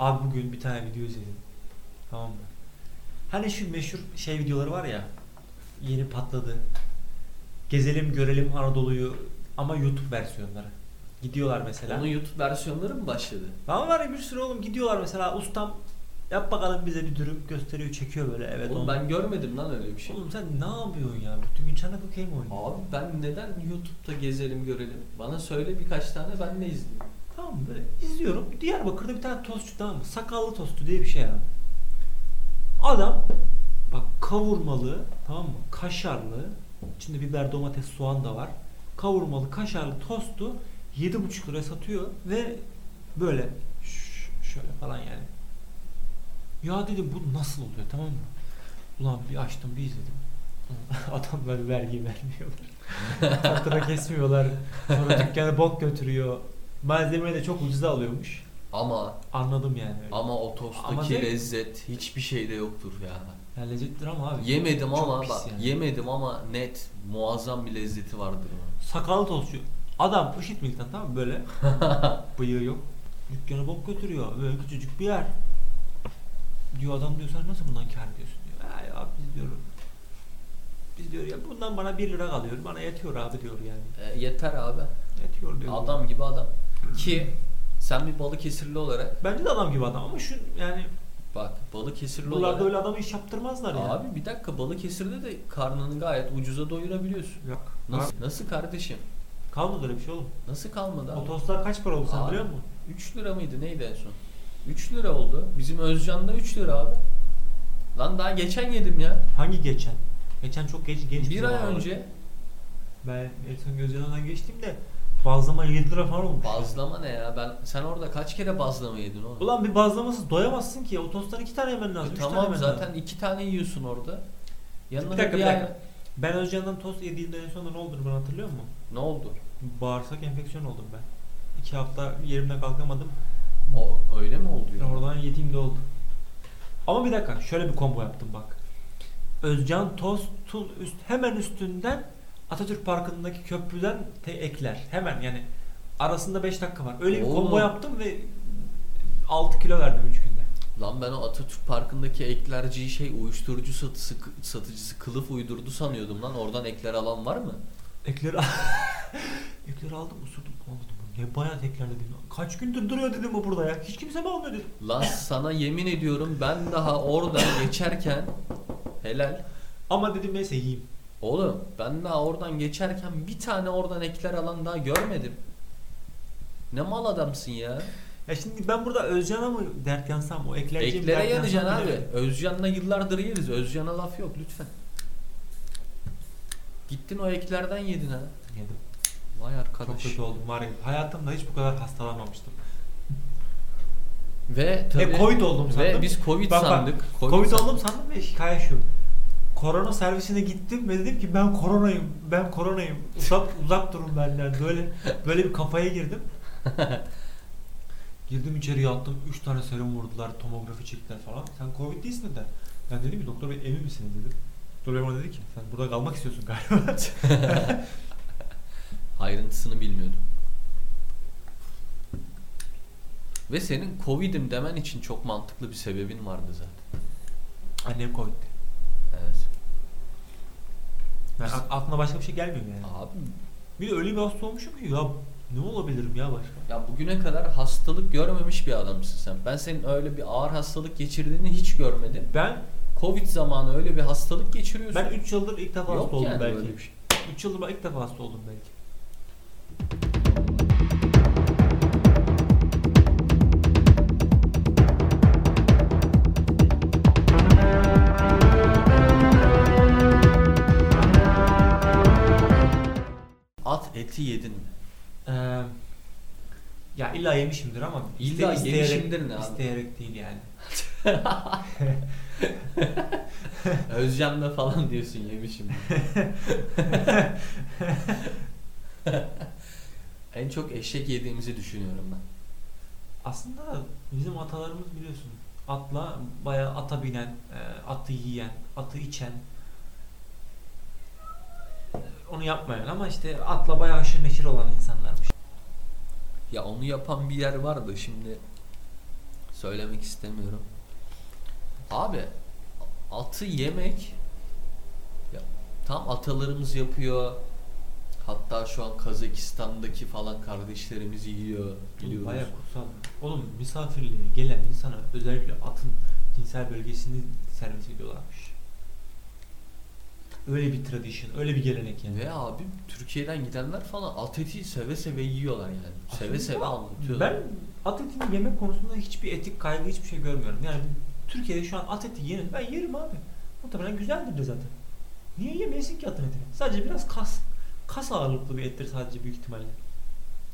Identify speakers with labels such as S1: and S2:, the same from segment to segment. S1: Abi bugün bir tane video izledim. Tamam mı? Hani şu meşhur şey videoları var ya. Yeni patladı. Gezelim görelim Anadolu'yu ama YouTube versiyonları. Gidiyorlar mesela.
S2: Onun YouTube versiyonları mı başladı?
S1: Ama var ya bir sürü oğlum gidiyorlar mesela ustam yap bakalım bize bir dürüm gösteriyor çekiyor böyle evet.
S2: Oğlum
S1: onu-
S2: ben görmedim lan öyle bir şey.
S1: Oğlum sen ne yapıyorsun ya? Bütün gün çanak okey mi oynuyorsun?
S2: Abi ben neden YouTube'da gezelim görelim? Bana söyle birkaç tane ben de izleyeyim.
S1: Tamam mı? böyle izliyorum. Diyarbakır'da bir tane tostçu tamam mı? Sakallı tostu diye bir şey abi. Adam bak kavurmalı tamam mı? Kaşarlı. içinde biber, domates, soğan da var. Kavurmalı kaşarlı tostu 7,5 liraya satıyor ve böyle ş- şöyle falan yani. Ya dedim bu nasıl oluyor tamam mı? Ulan bir açtım bir izledim. Adamlar vergi vermiyorlar. Tatlıda kesmiyorlar. Sonra dükkana bok götürüyor. Malzemeyi de çok ucuza alıyormuş.
S2: Ama
S1: Anladım yani. Öyle.
S2: ama o tosttaki
S1: Ama ne-
S2: lezzet hiçbir şeyde yoktur ya.
S1: Yani lezzetlidir ama abi.
S2: Yemedim
S1: çok
S2: ama
S1: pis
S2: bak
S1: yani.
S2: yemedim ama net muazzam bir lezzeti vardır onun.
S1: Sakallı tostçu. Adam IŞİD militan tamam mı böyle. Bıyığı yok. Dükkanı bok götürüyor. Böyle küçücük bir yer. Diyor adam diyor sen nasıl bundan kâr ediyorsun diyor. "Ha ya biz diyor. Biz diyor ya bundan bana 1 lira kalıyor. Bana yetiyor abi diyor yani.
S2: E, yeter abi.
S1: Yetiyor diyor.
S2: Adam gibi adam. Ki sen bir Balıkesirli olarak
S1: Bence de adam gibi adam ama şu yani
S2: bak Balıkesirli
S1: buralarda
S2: olarak
S1: öyle adamı iş yaptırmazlar ya.
S2: Abi bir dakika Balıkesir'de de karnını gayet ucuza doyurabiliyorsun.
S1: Yok. Nasıl?
S2: Nasıl, nasıl kardeşim?
S1: Kalmadı öyle bir şey oğlum.
S2: Nasıl kalmadı
S1: O
S2: abi?
S1: tostlar kaç para oldu sen
S2: Abi.
S1: biliyor musun?
S2: 3 lira mıydı neydi en son? 3 lira oldu. Bizim Özcan'da 3 lira abi. Lan daha geçen yedim ya.
S1: Hangi geçen? Geçen çok geç genç
S2: bir ay
S1: zaman abi.
S2: önce
S1: Ben en son göz yanından geçtim de bazlama 7 lira falan olmuş.
S2: bazlama ne ya? Ben sen orada kaç kere bazlama yedin oğlum?
S1: Ulan bir bazlamasız doyamazsın ki. O tosttan 2 tane yemen
S2: E
S1: lazım. üç tane
S2: tamam
S1: yemen
S2: zaten
S1: lazım.
S2: 2 tane yiyorsun orada. Yanına
S1: Bir
S2: da
S1: dakika, bir
S2: ay-
S1: dakika. Ben Özcan'dan tost yediğimde en sonunda ne olduğunu ben hatırlıyor musun?
S2: Ne oldu?
S1: Bağırsak enfeksiyon oldum ben. 2 hafta yerimden kalkamadım.
S2: O öyle mi oldu ya?
S1: Oradan yediğimde oldu. Ama bir dakika şöyle bir combo yaptım bak. Özcan Tost'un üst, hemen üstünden Atatürk Parkı'ndaki köprüden te- ekler. Hemen yani arasında 5 dakika var. Öyle bir combo
S2: Oğlum.
S1: yaptım ve 6 kilo verdim 3 günde.
S2: Lan ben o Atatürk Parkı'ndaki eklerciyi şey uyuşturucu satısı, satıcısı kılıf uydurdu sanıyordum lan. Oradan ekler alan var mı?
S1: Ekleri ekleri aldım usurdum. Olmadı bu. Ne bayağı ekler dedim. Kaç gündür duruyor dedim bu burada ya. Hiç kimse mi almıyor dedim.
S2: Lan sana yemin ediyorum ben daha oradan geçerken helal.
S1: Ama dedim neyse yiyeyim.
S2: Oğlum ben daha oradan geçerken bir tane oradan ekler alan daha görmedim. Ne mal adamsın ya.
S1: Ya şimdi ben burada Özcan'a mı dert yansam o eklerciye mi
S2: Eklere
S1: dert yansam
S2: yanacaksın abi.
S1: bilemiyorum.
S2: Özcan'la yıllardır yeriz. Özcan'a laf yok lütfen. Gittin o eklerden yedin ha.
S1: Yedim.
S2: Vay
S1: Çok
S2: arkadaş.
S1: kötü oldum var ya. Hayatımda hiç bu kadar hastalanmamıştım.
S2: Ve tabii
S1: e Covid oldum sandım.
S2: Ve biz Covid
S1: Bak, bak,
S2: sandık.
S1: Covid, oldum sandım ve hikaye şu. Korona servisine gittim ve dedim ki ben koronayım. Ben koronayım. Uzak uzak durun benden. Böyle böyle bir kafaya girdim. Girdim içeri yattım. 3 tane serum vurdular. Tomografi çektiler falan. Sen Covid değilsin de. Ben dedim ki doktor bey emin misiniz dedim. Doktor bey bana dedi ki sen burada kalmak istiyorsun galiba.
S2: Ayrıntısını bilmiyordum. Ve senin Covid'im demen için çok mantıklı bir sebebin vardı zaten.
S1: Annem Covid'di.
S2: Evet.
S1: Yani a- aklına başka bir şey gelmiyor yani.
S2: Abi
S1: Bir de öyle bir hasta olmuşum ki ya ne olabilirim ya başka?
S2: ya bugüne kadar hastalık görmemiş bir adamsın sen. Ben senin öyle bir ağır hastalık geçirdiğini hiç görmedim.
S1: Ben
S2: Covid zamanı öyle bir hastalık geçiriyorsun.
S1: ben 3 yıldır ilk defa
S2: Yok
S1: hasta oldum
S2: yani
S1: belki.
S2: böyle bir şey.
S1: 3 yıldır ben ilk defa hasta oldum belki.
S2: At eti yedin mi?
S1: Ee, ya illa yemişimdir ama
S2: İlla
S1: iste-
S2: yemişimdir ne abi?
S1: isteyerek değil yani.
S2: Özcan'la falan diyorsun yemişim. en çok eşek yediğimizi düşünüyorum ben.
S1: Aslında bizim atalarımız biliyorsun atla bayağı ata binen, e, atı yiyen, atı içen e, onu yapmayan ama işte atla bayağı aşırı neşir olan insanlarmış.
S2: Ya onu yapan bir yer vardı şimdi Söylemek istemiyorum. Abi atı yemek ya, tam atalarımız yapıyor. Hatta şu an Kazakistan'daki falan kardeşlerimiz yiyor.
S1: Oğlum
S2: Biliyoruz.
S1: Bayağı kutsal. Oğlum misafirliğe gelen insana özellikle atın cinsel bölgesini servis ediyorlarmış. Öyle bir tradition, öyle bir gelenek yani.
S2: Ve abi Türkiye'den gidenler falan at eti seve seve yiyorlar yani. Seve
S1: Aslında
S2: seve anlatıyorlar.
S1: Ben at etini yemek konusunda hiçbir etik kaygı hiçbir şey görmüyorum. Yani Türkiye'de şu an at eti yenir. Ben yerim abi. Muhtemelen güzeldir de zaten. Niye yemeyesin ki atın etini? Sadece biraz kas. Kas ağırlıklı bir ettir sadece büyük ihtimalle.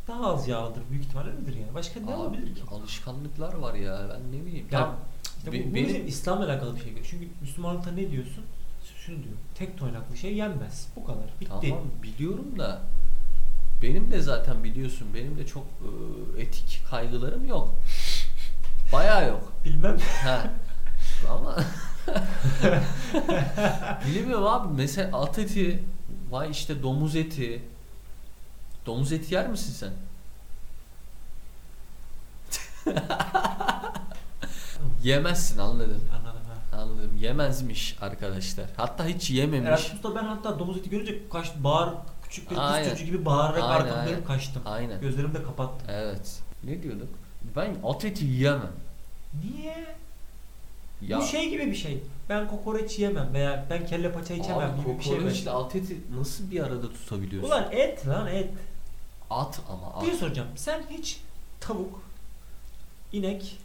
S1: Daha az yağlıdır büyük ihtimalle öyledir yani. Başka ne
S2: Abi,
S1: olabilir ki?
S2: alışkanlıklar var ya ben ne bileyim.
S1: Ya,
S2: Ben-
S1: İşte
S2: Be-
S1: bu, bu
S2: benim-
S1: bizim İslam'la alakalı bir şey. Çünkü Müslümanlıkta ne diyorsun? Şunu diyor. Tek toynaklı şey yenmez. Bu kadar. Bitti.
S2: Tamam biliyorum da benim de zaten biliyorsun benim de çok e, etik kaygılarım yok. Bayağı yok.
S1: Bilmem.
S2: Ha. Ama bilmiyorum abi mesela at eti vay işte domuz eti domuz eti yer misin sen? Yemezsin anladım.
S1: Anladım ha.
S2: Anladım. Yemezmiş arkadaşlar. Hatta hiç yememiş.
S1: Erasmus'ta ben hatta domuz eti görünce kaç bağır küçük bir
S2: Aynen.
S1: kız çocuğu gibi bağırarak
S2: Aynen,
S1: arkamı
S2: aynen.
S1: dönüp kaçtım.
S2: Aynen.
S1: Gözlerimi de kapattım.
S2: Evet. Ne diyorduk? Ben at eti yiyemem.
S1: Niye?
S2: Ya
S1: Bu şey gibi bir şey. Ben kokoreç yemem veya ben kelle paça içemem
S2: abi
S1: gibi bir şey.
S2: kokoreçle
S1: bence.
S2: at eti nasıl bir arada tutabiliyorsun?
S1: Ulan et lan et.
S2: At ama at.
S1: Bir şey soracağım. Sen hiç tavuk, inek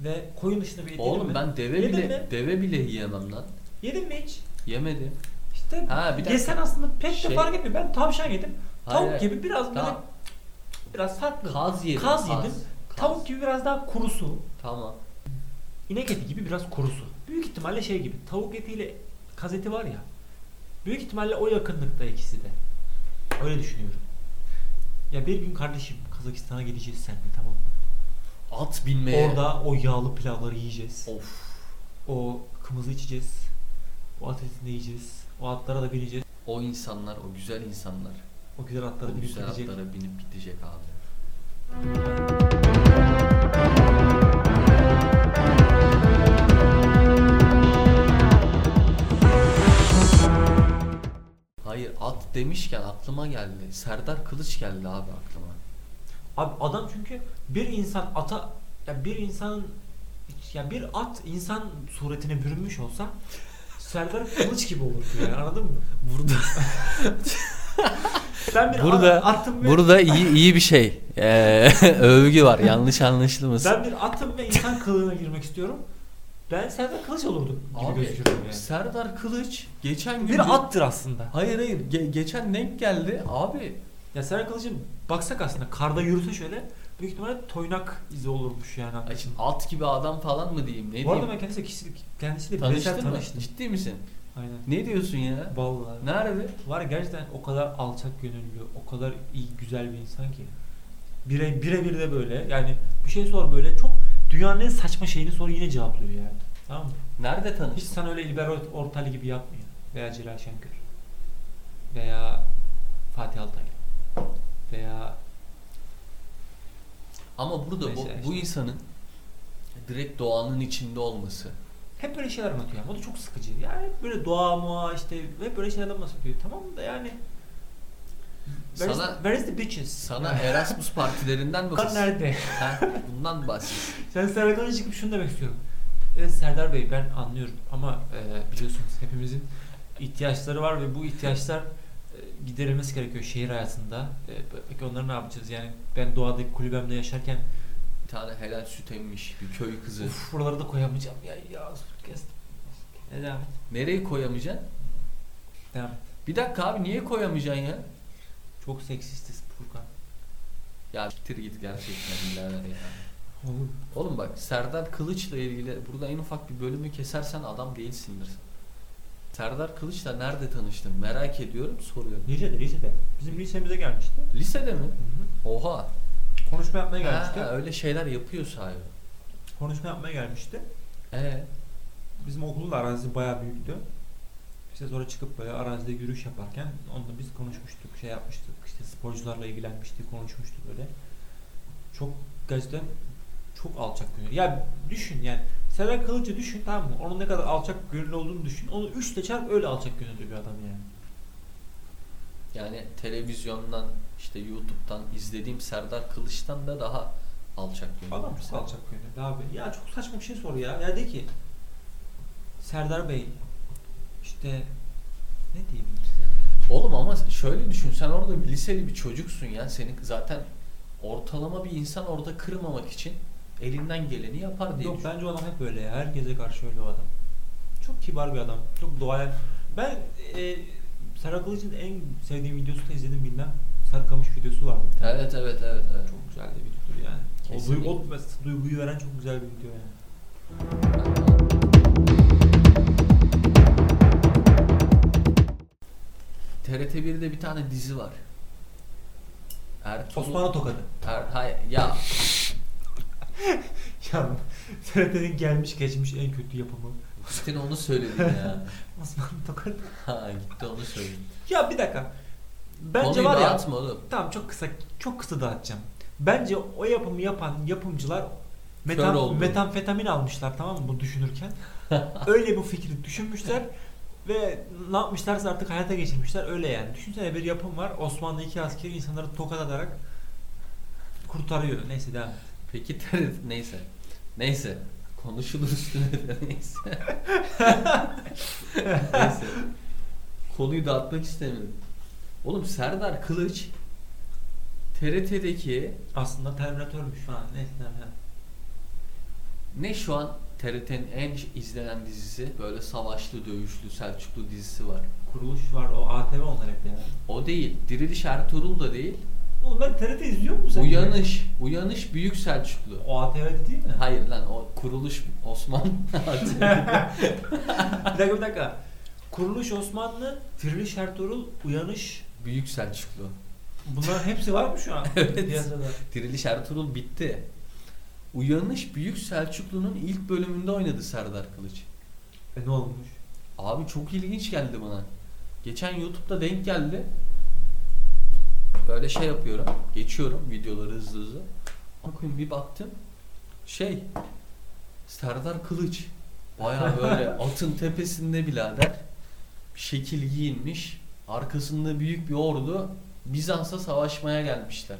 S1: ve koyun dışında bir et yedin
S2: Oğlum
S1: mi?
S2: ben deve
S1: Yedin
S2: bile
S1: mi?
S2: deve bile yiyemem lan.
S1: Yedin mi hiç?
S2: Yemedim.
S1: İşte
S2: Ha bir dakika.
S1: yesen aslında pek
S2: Şey-
S1: de fark etmiyor. Ben tavşan yedim. Tavuk
S2: Hayır,
S1: gibi biraz böyle
S2: Tamam.
S1: biraz farklı.
S2: Kaz yedim.
S1: Kaz yedim.
S2: Kaz.
S1: Tavuk gibi biraz daha kurusu.
S2: Tamam.
S1: İnek eti gibi biraz kurusu. Büyük ihtimalle şey gibi. Tavuk etiyle kaz eti var ya. Büyük ihtimalle o yakınlıkta ikisi de. Öyle düşünüyorum. Ya bir gün kardeşim Kazakistan'a gideceğiz seninle tamam mı?
S2: At binmeye.
S1: Orada o yağlı pilavları yiyeceğiz.
S2: Of.
S1: O kımızı içeceğiz. O at etini yiyeceğiz. O atlara da bineceğiz.
S2: O insanlar, o güzel insanlar.
S1: O güzel
S2: O
S1: atlara binip
S2: güzel
S1: gidecek.
S2: atlara binip gidecek abi. Hayır at demişken aklıma geldi. Serdar Kılıç geldi abi aklıma.
S1: Abi adam çünkü bir insan ata ya bir insanın ya bir at insan suretine bürünmüş olsa Serdar Kılıç gibi olurdu yani anladın mı?
S2: Burada
S1: Ben bir
S2: Burada-
S1: at- atım ve
S2: burada iyi iyi bir şey. övgü var. Yanlış anlaşılmasın.
S1: ben bir atım ve insan kılığına girmek istiyorum. Ben Serdar Kılıç olurdum gibi
S2: Abi,
S1: gözüküyorum yani.
S2: Serdar Kılıç geçen gün
S1: Bir attır aslında.
S2: Hayır hayır Ge- geçen denk geldi abi.
S1: Ya Serdar Kılıç'ın baksak aslında karda yürüse şöyle büyük ihtimalle toynak izi olurmuş yani.
S2: Ay şimdi at gibi adam falan mı diyeyim ne
S1: Bu arada
S2: diyeyim?
S1: ben kendisiyle kişi, kendisiyle bireysel
S2: Tanıştın mı?
S1: tanıştım.
S2: Ciddi misin?
S1: Aynen.
S2: Ne diyorsun ya?
S1: Vallahi.
S2: Nerede?
S1: Var ya gerçekten o kadar alçak gönüllü, o kadar iyi, güzel bir insan ki. Bire, birebir de böyle. Yani bir şey sor böyle çok dünyanın en saçma şeyini sor yine cevaplıyor yani. Tamam mı?
S2: Nerede
S1: Hiç
S2: tanıştın?
S1: sen öyle İlber Ort- Ortaylı gibi yapmıyor. Veya Celal Şenkör. Veya Fatih Altaylı. Veya
S2: Ama burada bu,
S1: Neyse işte.
S2: bu insanın direkt doğanın içinde olması.
S1: hep böyle şeyler anlatıyor. Ama o da çok sıkıcı. Yani hep böyle doğa muğa işte hep böyle şeylerden bahsediyor. Tamam da yani Where,
S2: Sana-
S1: is, where is the bitches?
S2: Sana
S1: Yani,
S2: Erasmus partilerinden mi?
S1: kan nerede?
S2: Ha, bundan bahset.
S1: Sen Serdar Kılıç'a çıkıp şunu demek istiyorum. Evet Serdar Bey ben anlıyorum ama e, biliyorsunuz hepimizin ihtiyaçları var ve bu ihtiyaçlar e, giderilmesi gerekiyor şehir hayatında. E, peki onları ne yapacağız? Yani ben doğadaki kulübemde yaşarken
S2: Bir tane helal süt emmiş bir köy kızı.
S1: uf buraları da koyamayacağım. Ya ya kes. E, devam et.
S2: Nereye koyamayacaksın?
S1: Devam et.
S2: Bir dakika abi niye koyamayacaksın ya?
S1: Çok seksistiz Furkan.
S2: Ya siktir git gerçekten birader ya.
S1: Oğlum.
S2: Oğlum bak Serdar Kılıç'la ilgili burada en ufak bir bölümü kesersen adam değilsindir. Serdar Kılıç'la nerede tanıştın? Merak ediyorum, soruyorum.
S1: Lisede, lisede. Bizim lisemize gelmişti.
S2: Lisede mi? Oha.
S1: Konuşma yapmaya
S2: Ha,
S1: gelmişti.
S2: öyle şeyler yapıyor sahibi.
S1: Konuşma yapmaya gelmişti.
S2: Ee,
S1: Bizim okulun da arazisi bayağı büyüktü. İşte sonra çıkıp böyle arazide yürüyüş yaparken onunla biz konuşmuştuk, şey yapmıştık. İşte sporcularla ilgilenmiştik, konuşmuştuk böyle. Çok gerçekten Çok alçak gönüllü. Ya düşün yani. Serdar Kılıç'ı düşün tamam mı? Onun ne kadar alçak gönüllü olduğunu düşün. Onu 3 ile çarp öyle alçak gönüllü bir adam yani.
S2: Yani televizyondan işte YouTube'dan izlediğim Serdar Kılıç'tan da daha alçak gönüllü.
S1: Adam
S2: bir
S1: çok
S2: Serdar.
S1: alçak gönüllü abi. Ya çok saçma bir şey sor ya. Ya de ki Serdar Bey işte ne diyebiliriz ya?
S2: Oğlum ama şöyle düşün sen orada bir liseli bir çocuksun ya. Senin zaten ortalama bir insan orada kırmamak için elinden geleni yapar diye
S1: Yok
S2: düşün.
S1: bence o adam hep böyle ya. Herkese karşı öyle o adam. Çok kibar bir adam. Çok doğal. Ben e, Serdar Kılıç'ın en sevdiğim videosunu da izledim bilmem. Sarkamış videosu vardı bir tane.
S2: Evet evet evet. evet.
S1: Çok güzel de videodur yani. O, duygu, o duyguyu veren çok güzel bir video yani.
S2: TRT 1'de bir tane dizi var. Ertuğrul...
S1: Osmanlı tokadı.
S2: Er, hayır, ya
S1: Ya TRT'nin gelmiş geçmiş en kötü yapımı.
S2: gittin onu söyledin ya.
S1: Osmanlı tokadı.
S2: ha gitti onu söyledin.
S1: Ya bir dakika. Bence
S2: Konuyu
S1: var ya.
S2: dağıtma oğlum.
S1: Tamam çok kısa çok kısa dağıtacağım. Bence o yapımı yapan yapımcılar metam,
S2: oldu.
S1: metamfetamin almışlar tamam mı bu düşünürken. öyle bu fikri düşünmüşler ve ne yapmışlarsa artık hayata geçirmişler öyle yani. Düşünsene bir yapım var Osmanlı iki asker insanları tokat atarak kurtarıyor. Neyse devam et.
S2: Peki TRT neyse. Neyse. Konuşulur üstüne de neyse. neyse. Konuyu dağıtmak istemedim. Oğlum Serdar Kılıç TRT'deki
S1: Aslında Terminatörmüş falan neyse devam et.
S2: ne şu an TRT'nin en izlenen dizisi böyle savaşlı, dövüşlü, Selçuklu dizisi var.
S1: Kuruluş var o ATV onlar hep yani.
S2: O değil. Diriliş Ertuğrul da değil.
S1: Oğlum ben TRT izliyor musun sen?
S2: Uyanış. Uyanış Büyük Selçuklu.
S1: O ATV değil mi?
S2: Hayır lan o kuruluş Osman.
S1: bir dakika bir dakika. Kuruluş Osmanlı, Diriliş Ertuğrul, Uyanış
S2: Büyük Selçuklu.
S1: Bunların hepsi var mı şu an
S2: Evet.
S1: piyasada?
S2: Diriliş Ertuğrul bitti. Uyanış Büyük Selçuklu'nun ilk bölümünde oynadı Serdar Kılıç.
S1: E ne olmuş?
S2: Abi çok ilginç geldi bana. Geçen YouTube'da denk geldi. Böyle şey yapıyorum. Geçiyorum videoları hızlı hızlı. Bakın bir baktım. Şey. Serdar Kılıç. Baya böyle atın tepesinde birader. Şekil giyinmiş. Arkasında büyük bir ordu. Bizans'a savaşmaya gelmişler.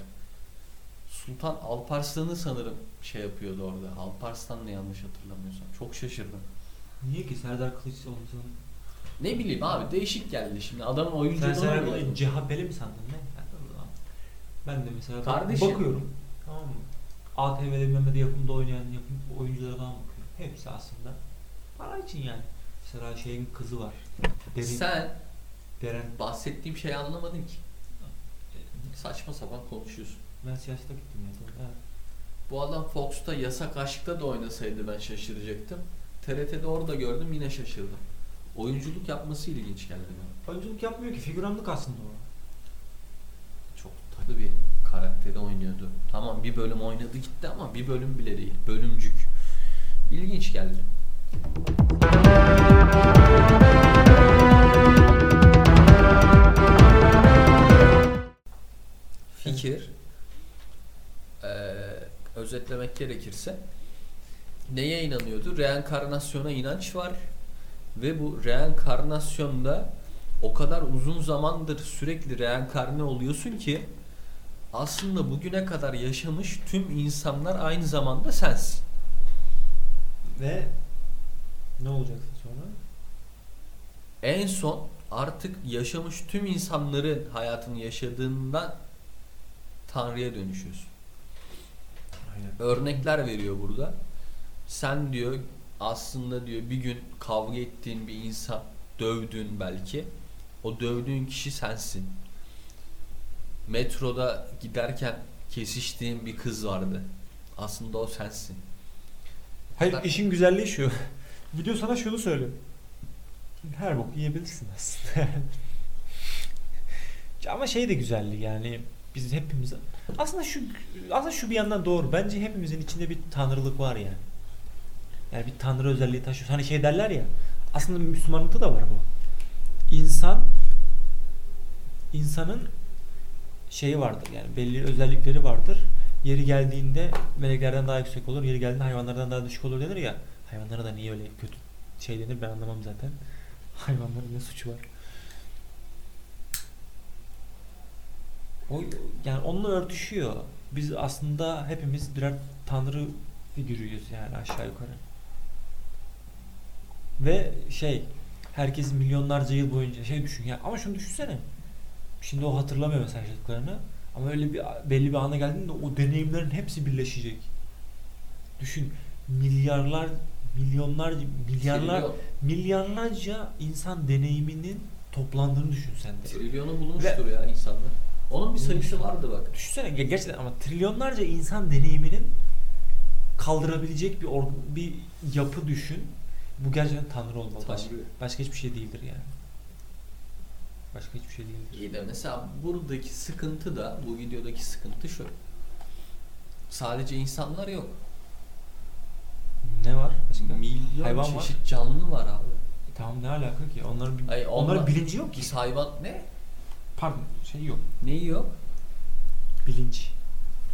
S2: Sultan Alparslan'ı sanırım şey yapıyordu orada. Alparslan ne yanlış hatırlamıyorsam. Çok şaşırdım.
S1: Niye ki Serdar Kılıç olmasın?
S2: Ne bileyim abi değişik geldi şimdi adamın
S1: Sen
S2: oyunculuğuna
S1: Serdar
S2: bile.
S1: Kılıç CHP'li mi sandın ne? Ben de mesela
S2: Kardeşim.
S1: bakıyorum. Tamam mı? ATV'de bilmem ne yapımda oynayan yapım, oyunculara falan bakıyorum. Hepsi aslında para için yani. Mesela şeyin kızı var. Derin,
S2: Sen
S1: Deren.
S2: bahsettiğim şeyi anlamadın ki. Saçma sapan konuşuyorsun.
S1: Ben siyasete gittim ya. Evet.
S2: Bu adam Fox'ta Yasak Aşk'ta da oynasaydı ben şaşıracaktım. TRT'de orada gördüm yine şaşırdım. Oyunculuk yapması ilginç geldi bana.
S1: Oyunculuk yapmıyor ki. Figüranlık aslında o.
S2: Çok tatlı bir karakteri oynuyordu. Tamam bir bölüm oynadı gitti ama bir bölüm bile değil. Bölümcük. İlginç geldi. Fikir. eee, özetlemek gerekirse neye inanıyordu? Reenkarnasyona inanç var ve bu reenkarnasyonda o kadar uzun zamandır sürekli reenkarne oluyorsun ki aslında bugüne kadar yaşamış tüm insanlar aynı zamanda sensin.
S1: Ve ne olacaksın sonra?
S2: En son artık yaşamış tüm insanların hayatını yaşadığından Tanrı'ya dönüşüyorsun.
S1: Aynen.
S2: Örnekler veriyor burada. Sen diyor aslında diyor bir gün kavga ettiğin bir insan dövdün belki. O dövdüğün kişi sensin. Metroda giderken kesiştiğin bir kız vardı. Aslında o sensin.
S1: Hayır işin güzelliği şu. Video sana şunu söylüyor. Her bok yiyebilirsin aslında. Ama şey de güzelliği yani biz hepimiz aslında şu aslında şu bir yandan doğru. Bence hepimizin içinde bir tanrılık var yani. Yani bir tanrı özelliği taşıyor. Hani şey derler ya. Aslında Müslümanlıkta da var bu. İnsan insanın şeyi vardır yani belli özellikleri vardır Yeri geldiğinde meleklerden daha yüksek olur. Yeri geldiğinde hayvanlardan daha düşük olur denir ya. Hayvanlara da niye öyle kötü şey denir ben anlamam zaten. Hayvanların ne suçu var? O yani onunla örtüşüyor. Biz aslında hepimiz birer tanrı figürüyüz yani aşağı yukarı. Ve şey herkes milyonlarca yıl boyunca şey düşün ya ama şunu düşünsene. Şimdi o hatırlamıyor mesela yaşadıklarını. Ama öyle bir belli bir ana geldiğinde o deneyimlerin hepsi birleşecek. Düşün milyarlar milyonlar milyarlar
S2: Trilyon-
S1: milyarlarca insan deneyiminin toplandığını düşün sen de.
S2: trilyonu bulmuştur ya insanlar. Onun bir sayısı vardı bak.
S1: Düşünsene ge- gerçekten ama trilyonlarca insan deneyiminin kaldırabilecek bir org- bir yapı düşün. Bu gerçekten tanrı olmalı. Başka,
S2: Tanrı.
S1: başka hiçbir şey değildir yani. Başka hiçbir şey değildir.
S2: İyi de mesela buradaki sıkıntı da bu videodaki sıkıntı şu. Sadece insanlar yok.
S1: Ne var başka?
S2: Milyon
S1: Hayvan var.
S2: çeşit canlı var abi.
S1: E tamam ne alaka ki? Onların bir-
S2: Ay, onlar-
S1: onların bilinci yok ki.
S2: Biz hayvan ne?
S1: Pardon, şey yok.
S2: Neyi yok?
S1: Bilinç.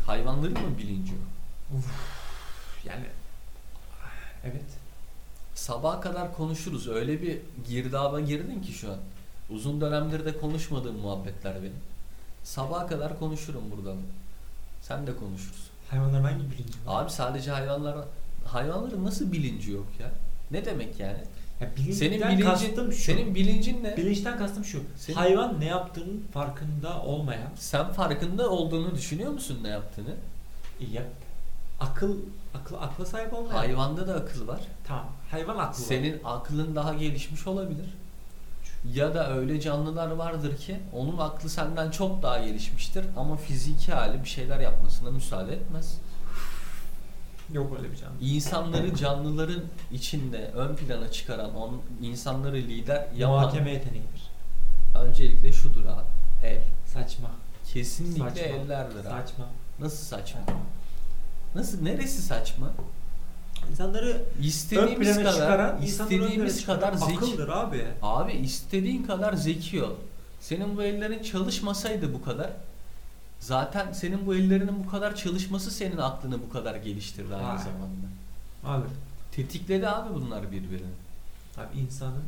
S2: Hayvanların mı bilinci yok?
S1: Yani evet.
S2: Sabaha kadar konuşuruz. Öyle bir girdaba girdin ki şu an. Uzun dönemdir de konuşmadığım muhabbetler benim. Sabaha kadar konuşurum buradan. Sen de konuşuruz.
S1: Hayvanların hangi bilinci var?
S2: Abi sadece hayvanlar hayvanların nasıl bilinci yok ya? Ne demek yani?
S1: Ya bilincden
S2: Senin bilincin,
S1: kastım şu.
S2: senin bilincin ne?
S1: bilinçten kastım şu.
S2: Senin-
S1: Hayvan ne yaptığının farkında olmayan
S2: Sen farkında olduğunu düşünüyor musun ne yaptığını?
S1: Yap. Akıl, akıl akla sahip olmayan.
S2: Hayvanda da akıl var.
S1: Tamam. Hayvan aklı var.
S2: Senin aklın daha gelişmiş olabilir. Ya da öyle canlılar vardır ki onun aklı senden çok daha gelişmiştir ama fiziki hali bir şeyler yapmasına müsaade etmez.
S1: Yok öyle bir canlı.
S2: İnsanları canlıların içinde ön plana çıkaran, on, insanları lider yapan
S1: Muhakeme yeteneğidir.
S2: öncelikle şudur abi. El.
S1: Saçma.
S2: Kesinlikle
S1: Saçma.
S2: ellerdir abi.
S1: Saçma.
S2: Nasıl saçma? Nasıl neresi saçma?
S1: İnsanları ön
S2: İstediğimiz
S1: plana
S2: kadar
S1: çıkaran, insanları ön plana
S2: istediğimiz kadar
S1: çıkaran
S2: zeki
S1: akıldır abi.
S2: Abi istediğin kadar zeki ol. Senin bu ellerin çalışmasaydı bu kadar. Zaten senin bu ellerinin bu kadar çalışması senin aklını bu kadar geliştirdi aynı
S1: Aynen.
S2: zamanda.
S1: Abi,
S2: Tetikledi abi bunlar birbirini.
S1: abi insanın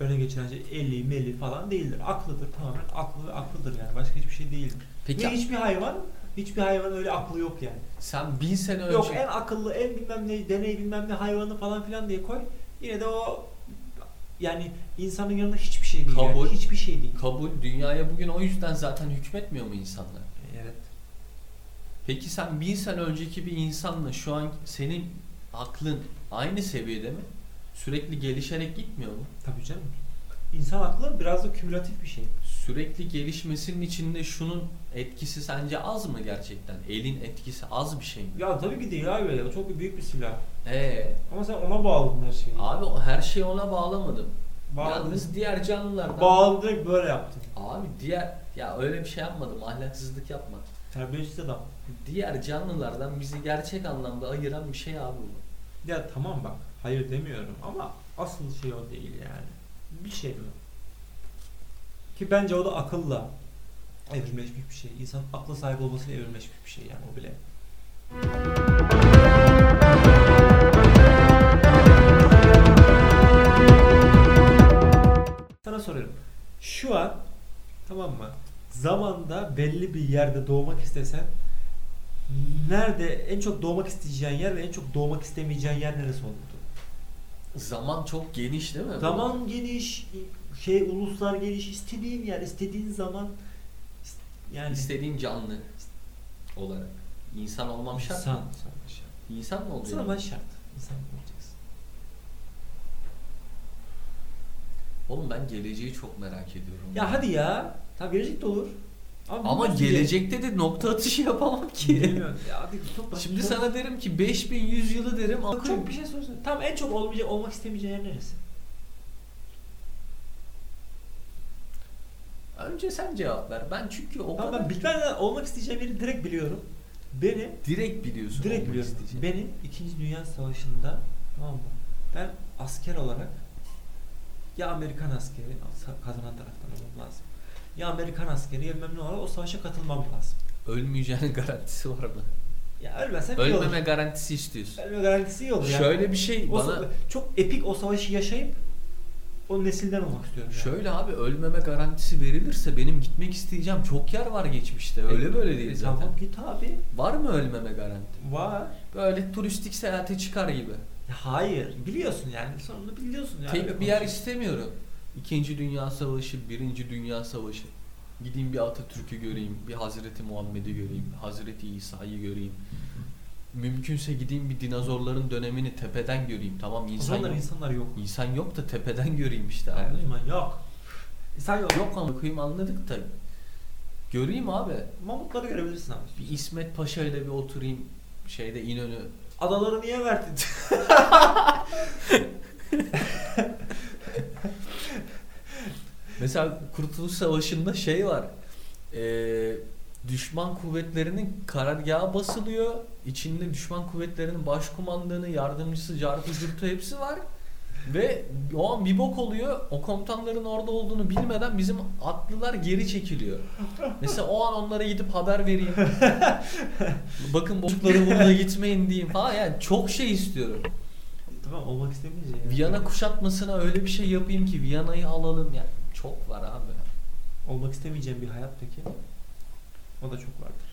S1: öne geçiren şey eli, meli falan değildir. Aklıdır tamamen. Aklı ve aklıdır yani. Başka hiçbir şey değildir.
S2: Peki
S1: Ve hiçbir hayvan, hiçbir hayvan öyle aklı yok yani.
S2: sen bin sene önce
S1: Yok en akıllı, en bilmem ne, deney bilmem ne hayvanı falan filan diye koy. Yine de o yani insanın yanında hiçbir şey değil.
S2: Kabul.
S1: Yani. Hiçbir şey değil.
S2: kabul dünyaya bugün o yüzden zaten hükmetmiyor mu insanlar?
S1: Evet.
S2: Peki sen bin sene önceki bir insanla şu an senin aklın aynı seviyede mi? Sürekli gelişerek gitmiyor mu?
S1: Tabii canım. İnsan aklı biraz da kümülatif bir şey.
S2: Sürekli gelişmesinin içinde şunun etkisi sence az mı gerçekten? Elin etkisi az bir şey mi?
S1: Ya tabii ki değil abi. O çok büyük bir silah.
S2: Ee,
S1: Ama sen ona bağladın her şeyi.
S2: abi o- her şeyi ona bağlamadım.
S1: Bağladın.
S2: Yalnız diğer canlılardan.
S1: Bağladın direkt böyle yaptın.
S2: abi diğer ya öyle bir şey yapmadım. Ahlaksızlık yapma.
S1: Terbiyesiz adam.
S2: Diğer canlılardan bizi gerçek anlamda ayıran bir şey abi bu.
S1: Ya tamam bak. Hayır demiyorum ama asıl şey o değil yani. Bir şey mi? Ki bence o da akılla evrimleşmiş bir şey. İnsan akla sahip olmasıyla evrimleşmiş bir şey yani o bile. Sana soruyorum. Şu an tamam mı? Zamanda belli bir yerde doğmak istesen nerede en çok doğmak isteyeceğin yer ve en çok doğmak istemeyeceğin yer neresi olurdu?
S2: Zaman çok geniş değil mi?
S1: Zaman geniş, şey uluslar geniş, istediğin yer, istediğin zaman ist- yani
S2: İstediğin canlı olarak. İnsan olmam şart.
S1: insan.
S2: İnsan mı
S1: İnsan
S2: oluyor?
S1: ama şart. İnsan olacaksın.
S2: Oğlum ben geleceği çok merak ediyorum.
S1: Ya hadi ya. Tamam gelecek de olur.
S2: Ama
S1: bilmiyorum ki.
S2: gelecekte de nokta atışı yapamam ki.
S1: Bilmiyorum. Ya hadi çok basit.
S2: Şimdi
S1: Çok-
S2: sana derim ki 5100 yılı derim. ama-
S1: çok bir şey soruyorsun. Tam en çok olmayacak, olmak istemeyeceğin yer neresi?
S2: Önce sen cevap ver. Ben çünkü o
S1: Tamam
S2: kadar
S1: ben bitmeden olmak isteyeceğim yeri direkt biliyorum. Beni
S2: direkt biliyorsun.
S1: Direkt
S2: olmak
S1: biliyorum.
S2: isteyeceğini.
S1: Benim 2. Dünya Savaşı'nda tamam mı? Ben asker olarak ya Amerikan askeri sa- kazanan taraftan olmam lazım. Ya Amerikan askeri ya bilmem ne olarak o savaşa katılmam lazım.
S2: Ölmeyeceğinin garantisi var mı?
S1: Ya ölmesem iyi olur.
S2: Ölmeme garantisi istiyorsun.
S1: Ölme garantisi iyi olur ya.
S2: Şöyle bir şey
S1: O
S2: bana
S1: sa- çok epik o savaşı yaşayıp o nesilden olmak istiyorum. Yani.
S2: şöyle abi ölmeme garantisi verilirse benim gitmek isteyeceğim çok yer var geçmişte. Öyle böyle değil
S1: E,
S2: zaten.
S1: Tamam git abi.
S2: Var mı ölmeme garanti?
S1: Var.
S2: Böyle turistik seyahate çıkar gibi.
S1: Ya Hayır. Biliyorsun yani. Sonunda biliyorsun yani.
S2: Tek bir yer şey istemiyorum. İkinci Dünya Savaşı, Birinci Dünya Savaşı. Gideyim bir Atatürk'ü göreyim, bir Hazreti Muhammed'i göreyim, Hazreti İsa'yı göreyim. Mümkünse gideyim bir dinozorların dönemini tepeden göreyim. Tamam
S1: O
S2: insan
S1: zamanlar
S2: yok.
S1: insanlar yok.
S2: İnsan yok da tepeden göreyim işte. abi.
S1: Anladın mı? Yok. İnsan yok.
S2: Yok ama kıyım anladık da. Göreyim abi.
S1: Mamutları görebilirsin abi.
S2: Bir İsmet Paşa ile bir oturayım şeyde İnönü.
S1: Adaları niye verdin?
S2: Mesela Kurtuluş Savaşı'nda şey var. Ee, düşman kuvvetlerinin karargahı basılıyor. İçinde düşman kuvvetlerinin başkumandanı, yardımcısı, cartı, cürtü hepsi var. Ve o an bir bok oluyor. O komutanların orada olduğunu bilmeden bizim atlılar geri çekiliyor. Mesela o an onlara gidip haber vereyim. Bakın bozukları burada gitmeyin diyeyim falan. Yani çok şey istiyorum.
S1: tamam olmak istemeyiz ya.
S2: Viyana kuşatmasına öyle bir şey yapayım ki Viyana'yı alalım ya. Çok var abi.
S1: Olmak istemeyeceğim bir hayat peki. O da çok vardır.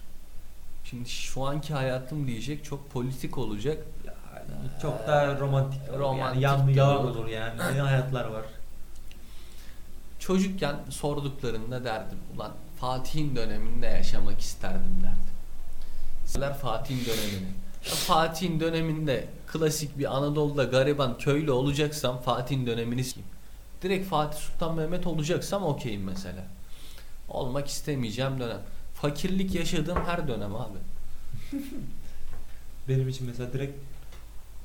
S2: Şimdi şu anki hayatım diyecek çok politik olacak.
S1: Ya, çok daha romantik olur.
S2: Romantik
S1: yani yan
S2: doğru.
S1: olur yani. Ne hayatlar var.
S2: Çocukken sorduklarında derdim ulan Fatih'in döneminde yaşamak isterdim derdim. Seller Fatih'in dönemini. Ya Fatih'in döneminde klasik bir Anadolu'da gariban köylü olacaksam Fatih'in dönemini sikeyim. Direkt Fatih Sultan Mehmet olacaksam okeyim mesela. Olmak istemeyeceğim dönem. Fakirlik yaşadığım her dönem abi.
S1: Benim için mesela direkt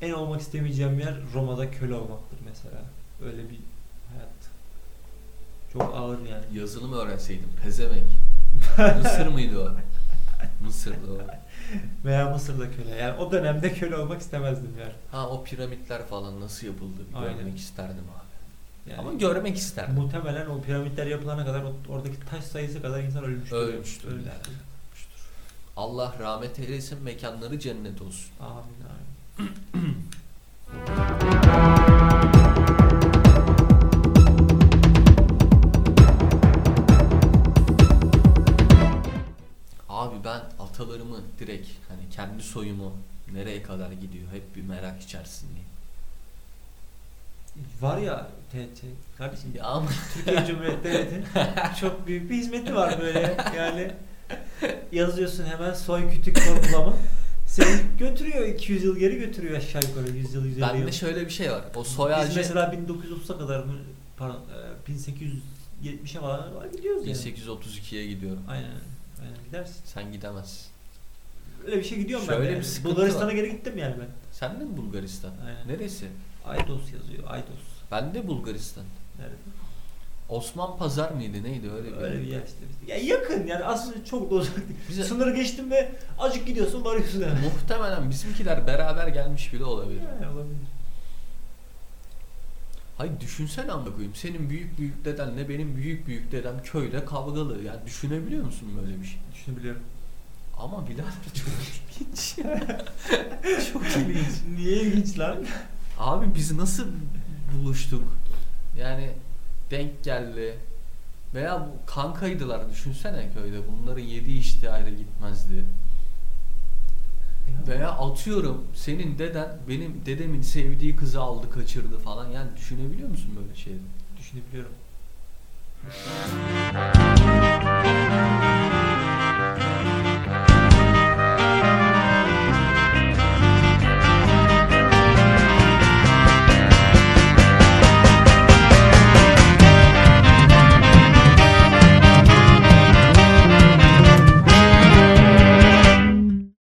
S1: en olmak istemeyeceğim yer Roma'da köle olmaktır mesela. Öyle bir hayat. Çok ağır yani.
S2: Yazılım öğrenseydim pezemek. Mısır mıydı o? Mısır'dı o.
S1: Veya Mısır'da köle. Yani o dönemde köle olmak istemezdim yani.
S2: Ha o piramitler falan nasıl yapıldı bir
S1: Aynen.
S2: görmek isterdim abi.
S1: yani
S2: Ama görmek isterdim.
S1: Muhtemelen o piramitler yapılana kadar o- oradaki taş sayısı kadar insan ölmüştür.
S2: Ölmüştür.
S1: Ölmüştür.
S2: Allah rahmet eylesin mekanları cennet olsun.
S1: Amin amin.
S2: Abi ben atalarımı direkt hani kendi soyumu nereye kadar gidiyor hep bir merak içerisindeyim.
S1: Var ya TT kardeşim ya.
S2: Ya ama
S1: Türkiye Cumhuriyeti Devleti'nin çok büyük bir hizmeti var böyle yani yazıyorsun hemen soy kütük sorgulama seni götürüyor 200 yıl geri götürüyor aşağı yukarı 100 yıl 150 yıl.
S2: bende şöyle bir şey var. O soy
S1: Biz
S2: ağacı
S1: mesela 1930'a kadar mı pardon e, 1870'e falan var gidiyoruz yani.
S2: 1832'ye gidiyorum.
S1: Aynen aynen gidersin.
S2: Sen gidemezsin.
S1: Öyle bir şey gidiyorum ben.
S2: Şöyle
S1: de.
S2: bir sıkıntı
S1: Bulgaristan'a
S2: var.
S1: geri gittim yani ben.
S2: Sen de mi Bulgaristan?
S1: Aynen.
S2: Neresi?
S1: Aydos yazıyor. Aydos.
S2: Ben de Bulgaristan.
S1: Nerede?
S2: Osman Pazar mıydı neydi öyle bir
S1: Öyle bir yer işte. Ya yakın yani aslında çok da uzak değil.
S2: Bize-
S1: Sınırı geçtin ve acık gidiyorsun varıyorsun hemen.
S2: Muhtemelen bizimkiler beraber gelmiş bile olabilir.
S1: Yani olabilir.
S2: Hayır düşünsene amına koyayım. Senin büyük büyük dedenle benim büyük büyük dedem köyde kavgalı. Yani düşünebiliyor musun böyle bir şey?
S1: Düşünebiliyorum.
S2: Ama birader çok ilginç. çok ilginç.
S1: Niye ilginç lan?
S2: Abi biz nasıl buluştuk? Yani denk geldi. Veya bu kankaydılar düşünsene köyde. Bunların yedi içti ayrı gitmezdi. Veya atıyorum senin deden benim dedemin sevdiği kızı aldı kaçırdı falan. Yani düşünebiliyor musun böyle şeyleri?
S1: Düşünebiliyorum.